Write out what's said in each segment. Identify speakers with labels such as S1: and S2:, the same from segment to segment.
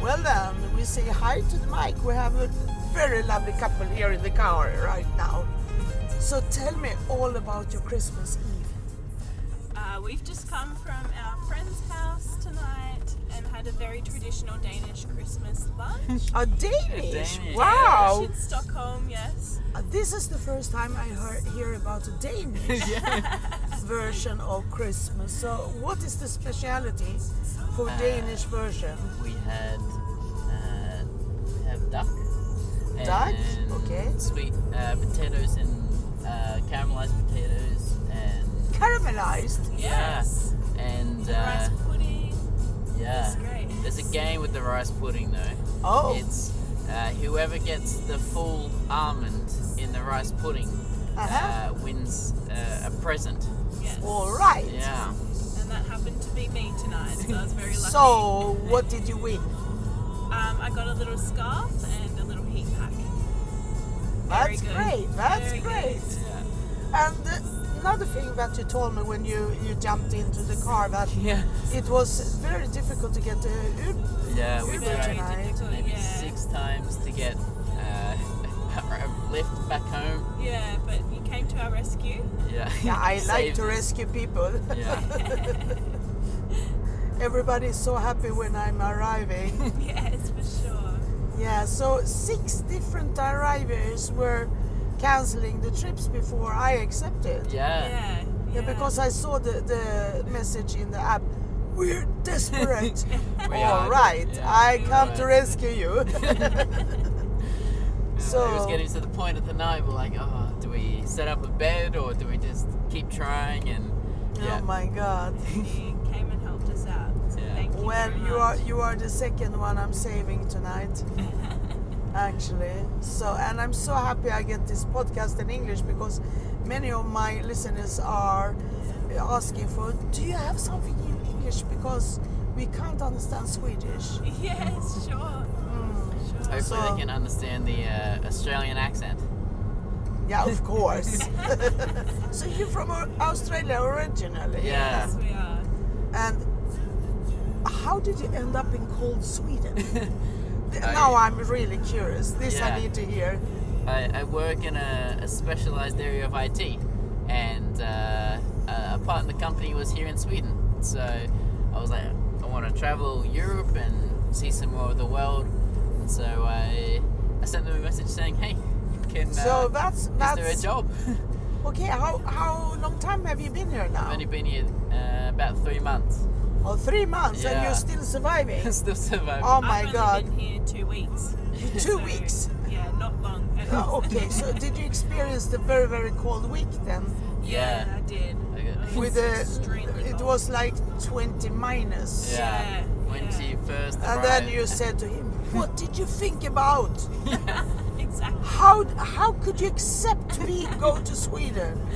S1: Well, then, we say hi to the mic. We have a very lovely couple here in the car right now. So tell me all about your Christmas Eve.
S2: Uh, we've just come from our friend's house tonight and had a very traditional Danish Christmas lunch.
S1: A Danish?
S3: Danish.
S1: Wow!
S2: Danish in Stockholm, yes.
S1: Uh, This is the first time I hear, hear about a Danish version of Christmas. So, what is the speciality for Danish version?
S3: We had uh, we have duck.
S1: Duck?
S3: and
S1: Okay.
S3: Sweet uh, potatoes and uh, caramelized potatoes and
S1: Caramelized.
S2: Yes.
S3: yeah, and uh,
S2: Rice pudding.
S3: yeah.
S2: It's great.
S3: There's a game with the rice pudding though.
S1: Oh,
S3: It's uh, whoever gets the full almond in the rice pudding
S1: Uh-huh.
S3: uh, wins uh, a present.
S2: Yes.
S3: Oh.
S1: all right.
S3: Yeah.
S2: And that happened to be me tonight, so I was very lucky.
S1: So, what did you win?
S2: Um, I got a little scarf and a little heat pack. Very
S1: That's
S2: good.
S1: great. That's
S2: Very good.
S1: great.
S3: Yeah.
S1: And uh, another thing that you told me when you, you jumped into the car that
S3: Yeah.
S1: it was very difficult to get a Uber.
S3: Yeah. We
S1: Uber
S3: tried.
S1: tonight.
S3: Oh, maybe
S2: yeah.
S3: six times to get uh, a lift back home.
S2: Yeah, but you came to our rescue.
S3: Yeah.
S1: Yeah, I like
S3: Saved
S1: to
S3: us.
S1: rescue people.
S3: Yeah.
S1: Everybody's so happy when I'm arriving.
S2: yes, for sure.
S1: yeah, so six different arrivers were canceling the trips before I accepted.
S3: Yeah.
S2: Yeah.
S1: Yeah, because I saw the, the message in the app. We're desperate.
S3: We
S1: All
S3: are-
S1: right,
S3: yeah,
S1: I
S3: we
S1: come
S3: are.
S1: to rescue you. Oh
S3: it was
S1: so,
S3: getting to the point of the night we're like, oh, do we set up a bed or do we just keep trying and yeah.
S1: oh my god.
S2: you came and helped us out. So
S3: Yeah.
S2: thank you.
S1: Well,
S2: very
S1: you
S2: much.
S1: are you are the second one I'm saving tonight, actually. So, and I'm so happy I get this podcast in English because many of my listeners are asking for, do you have something in English because we can't understand Swedish.
S2: Yes, sure. Sure.
S3: Hopefully
S1: So-
S3: they can understand the uh, Australian accent.
S1: Yeah, of course. so you're from Au- Australia originally.
S3: Yeah.
S2: Yes, we are.
S1: And how did you end up in cold Sweden? Th-
S3: I-
S1: now I'm really curious. This
S3: Yeah.
S1: I need to hear.
S3: I, I work in a, a specialized area of IT, and uh, a a part of the company was here in Sweden. So I was like, I want to travel Europe and see some more of the world. And so I, I sent them a message saying, hey, can uh,
S1: so that's
S3: is
S1: that's
S3: there a job?
S1: okay. How how long time have you been here now?
S3: I've only been here uh, about three months.
S1: Oh, three months, and
S3: Yeah.
S1: you're still surviving.
S3: Still surviving.
S1: oh my
S2: I've only
S1: God!
S2: been here two weeks.
S1: Two
S2: so,
S1: weeks.
S2: Yeah, not long at all.
S1: Oh, okay, so did you experience the very very cold week then?
S2: yeah,
S3: Yeah.
S2: I did.
S3: I got-
S2: It was
S1: With the
S2: extremely
S1: it
S2: cold.
S1: was like 20 minus.
S3: yeah.
S2: yeah,
S3: When
S2: yeah.
S3: she first
S1: And
S3: arrived.
S1: then you said to him, "What did you think about?
S2: exactly.
S1: How how could you accept me go to Sweden?"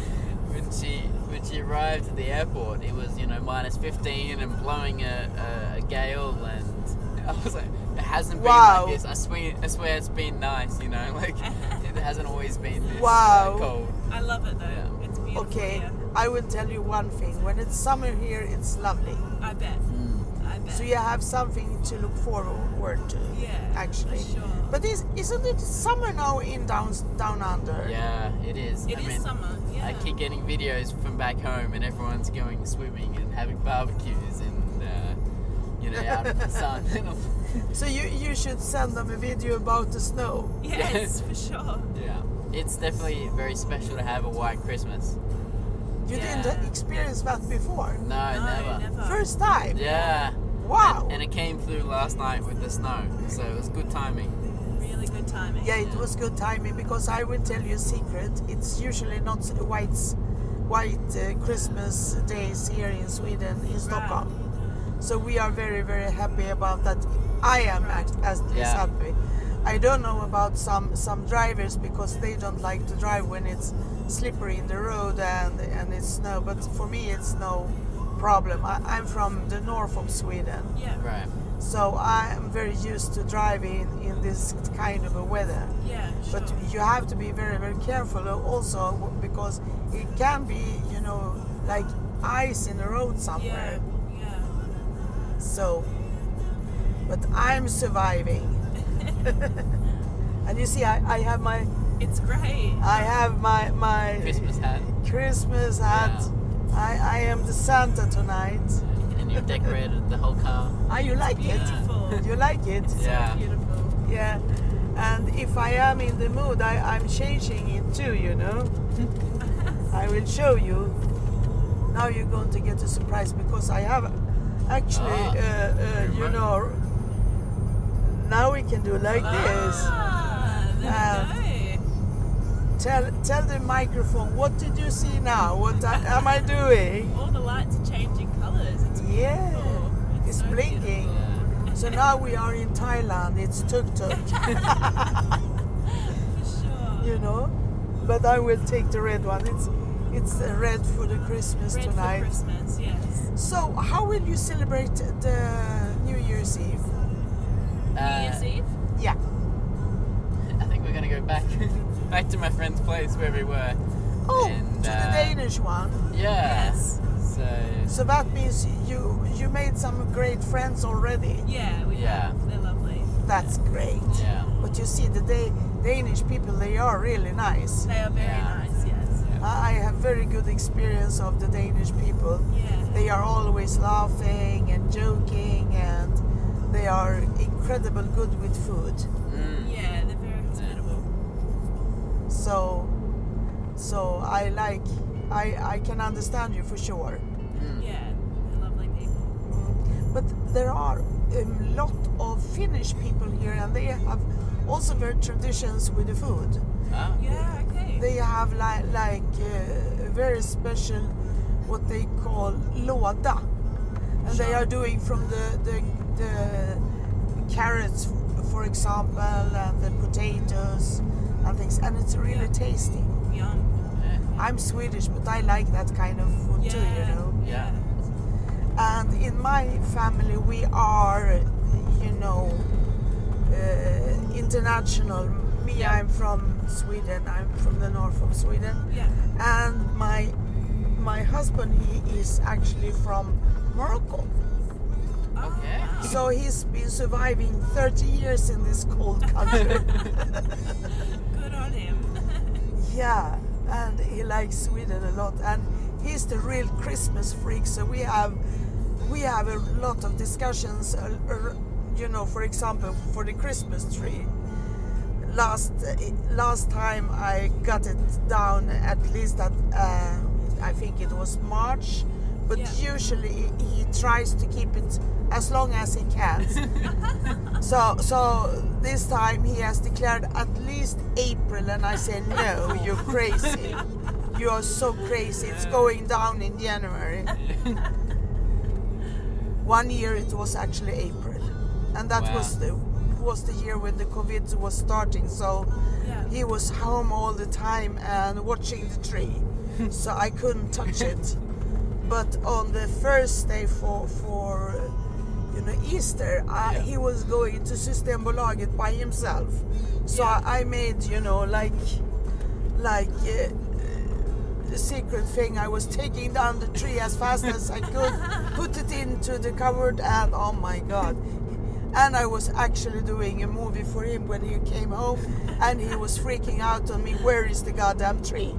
S3: When she when she arrived at the airport, it was you know minus fifteen and blowing a, a, a gale, and I was like, it hasn't been
S1: Wow.
S3: like this. I swear, I swear, it's been nice. You know, like it hasn't always been this uh,
S1: Wow.
S3: cold.
S2: I love it though.
S3: Yeah.
S2: It's beautiful.
S1: Okay,
S2: Here.
S1: I will tell you one thing. When it's summer here, it's lovely.
S2: I bet. I
S1: Mm.
S2: bet.
S1: So you have something to look forward to.
S2: Yeah,
S1: actually.
S2: for sure.
S1: But is, isn't it summer now in down down under?
S3: Yeah, it is.
S2: It
S3: I
S2: is
S3: mean,
S2: summer. Yeah.
S3: I keep getting videos from back home, and everyone's going swimming and having barbecues and uh, you know out in the sun.
S1: So you you should send them a video about the snow.
S2: Yes, for sure.
S3: yeah, it's definitely very special to have a white Christmas.
S1: You
S2: Yeah.
S1: didn't experience that before.
S3: No, never.
S1: First time.
S3: Yeah.
S1: Wow.
S3: And it came through last night with the snow, so it was good timing.
S2: Really good timing.
S1: yeah, it was good timing because I will tell you a secret. It's usually not white white uh, Christmas days here in Sweden in Stockholm. So we are very very happy about that. I am act- at least
S3: Yeah.
S1: happy. I don't know about some some drivers because they don't like to drive when it's slippery in the road and and it's snow. But for me, it's no problem. I, I'm from the north of Sweden.
S2: Yeah.
S3: Right.
S1: So I am very used to driving in this kind of a weather.
S2: Yeah. Sure.
S1: But you have to be very, very careful also because it can be, you know, like ice in the road
S2: yeah.
S1: somewhere.
S2: Yeah.
S1: So, but but I'm surviving. and you see, I, I have my
S2: It's great.
S1: I have my my
S3: Christmas hat.
S1: Christmas hat. I, I am the Santa tonight.
S3: And you've decorated the whole car.
S1: Ah, you like
S2: Beautiful.
S1: it? You like it?
S2: It's
S3: Yeah.
S2: so beautiful.
S1: Yeah. And if I am in the mood, I, I'm changing it too, you know. I will show you. Now you're going to get a surprise because I have actually,
S3: Ah,
S1: uh, uh, you
S3: remember.
S1: know, now we can do like this.
S2: Ah, there we go.
S1: Tell tell the microphone, what did you see now? What I, am I doing?
S2: All the lights are changing colours. It's
S1: Yeah.
S2: beautiful.
S1: It's
S2: so
S1: blinking. So now we are in Thailand. It's tuk tuk,
S2: beautiful, For sure.
S1: you know. But I will take the red one. It's it's the red for the Christmas
S2: Red
S1: tonight.
S2: for Christmas, yes.
S1: So, how will you celebrate the New Year's Eve?
S3: Uh,
S2: New Year's Eve?
S1: Yeah.
S3: I think we're gonna go back back to my friend's place where we were.
S1: Oh,
S3: And,
S1: to the
S3: uh,
S1: Danish one.
S3: Yeah.
S2: Yes.
S3: So
S1: So that means you you made some great friends already.
S2: Yeah, we
S3: Yeah.
S2: have. They're lovely.
S1: That's great.
S3: yeah.
S1: But you see, the da- Danish people they are really nice.
S2: They are very
S3: Yeah.
S2: nice, yes.
S1: I I have very good experience of the Danish people.
S2: Yeah.
S1: They are always laughing and joking, and they are incredible good with food.
S3: Mm.
S2: yeah, they're very hospitable.
S1: So, so I like I I can understand you for sure.
S3: mm.
S2: Yeah. they're lovely people.
S1: But there are a lot of Finnish people here, and they have also their traditions with the food.
S3: Ah.
S2: Yeah, okay.
S1: They have like like uh, a very special what they call låda, and they are doing from the the, the carrots, for example, and the potatoes and things, and it's really tasty.
S2: Yum.
S3: Yeah.
S1: I'm Swedish, but I like that kind of food
S2: Yeah.
S1: too, you know.
S3: Yeah.
S1: and in my family we are you know uh, international me
S3: Yeah.
S1: i'm from sweden i'm from the north of sweden
S2: Yeah.
S1: and my my husband he is actually from morocco
S2: Oh,
S3: Okay.
S2: wow.
S1: so he's been surviving 30 years in this cold country
S2: Good on him.
S1: yeah and he likes sweden a lot and he's the real christmas freak so we have we have a lot of discussions uh, uh, you know for example for the christmas tree last uh, last time i got it down at least at uh, i think it was march but
S2: Yeah.
S1: usually he tries to keep it as long as he can so so this time he has declared at least april and i say no you're crazy you are so crazy it's going down in january one year it was actually April, and that
S3: Wow.
S1: was the was the year when the COVID was starting. So
S2: yeah.
S1: he was home all the time and watching the tree, so I couldn't touch it. But on the first day for for you know Easter, I,
S3: Yeah.
S1: he was going to Systembolaget by himself. So
S2: Yeah.
S1: I, I made you know like like. Uh, the secret thing. I was taking down the tree as fast as I could, put it into the cupboard, and oh my god. And I was actually doing a movie for him when he came home, and he was freaking out on me. Where is the goddamn tree?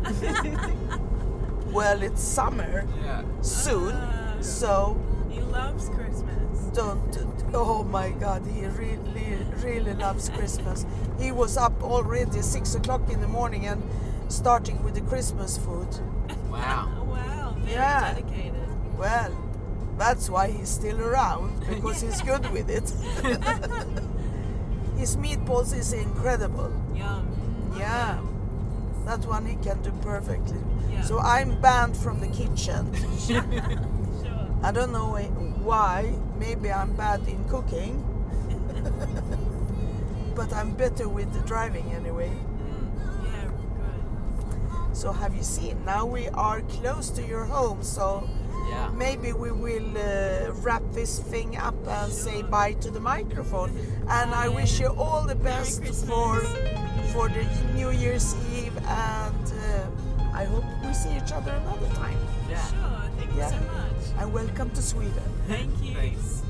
S1: well, it's summer
S3: Yeah.
S1: soon,
S2: Ah.
S1: so
S2: He loves Christmas.
S1: don't. Oh my god, he really, really loves Christmas. He was up already six o'clock in the morning and starting with the Christmas food.
S3: Wow.
S2: Oh, wow. Very
S1: Yeah.
S2: dedicated.
S1: Well, that's why he's still around because he's good with it. His meatballs is incredible.
S2: Yum.
S1: Yeah, that one he can do perfectly.
S2: Yeah.
S1: So I'm banned from the kitchen.
S2: Sure.
S1: I don't know wh- why. Maybe I'm bad in cooking, but I'm better with the driving anyway.
S3: Mm.
S2: Yeah, good.
S1: So have you seen? Now we are close to your home, so
S3: Yeah.
S1: Maybe we will uh, wrap this thing up and say bye to the microphone. And I wish you all the best for for the New Year's Eve, and uh, I hope we see each other another time.
S3: Yeah.
S2: Sure. Thank
S1: Yeah.
S2: you so much.
S1: And welcome to Sweden.
S2: Thank you.
S3: Thanks.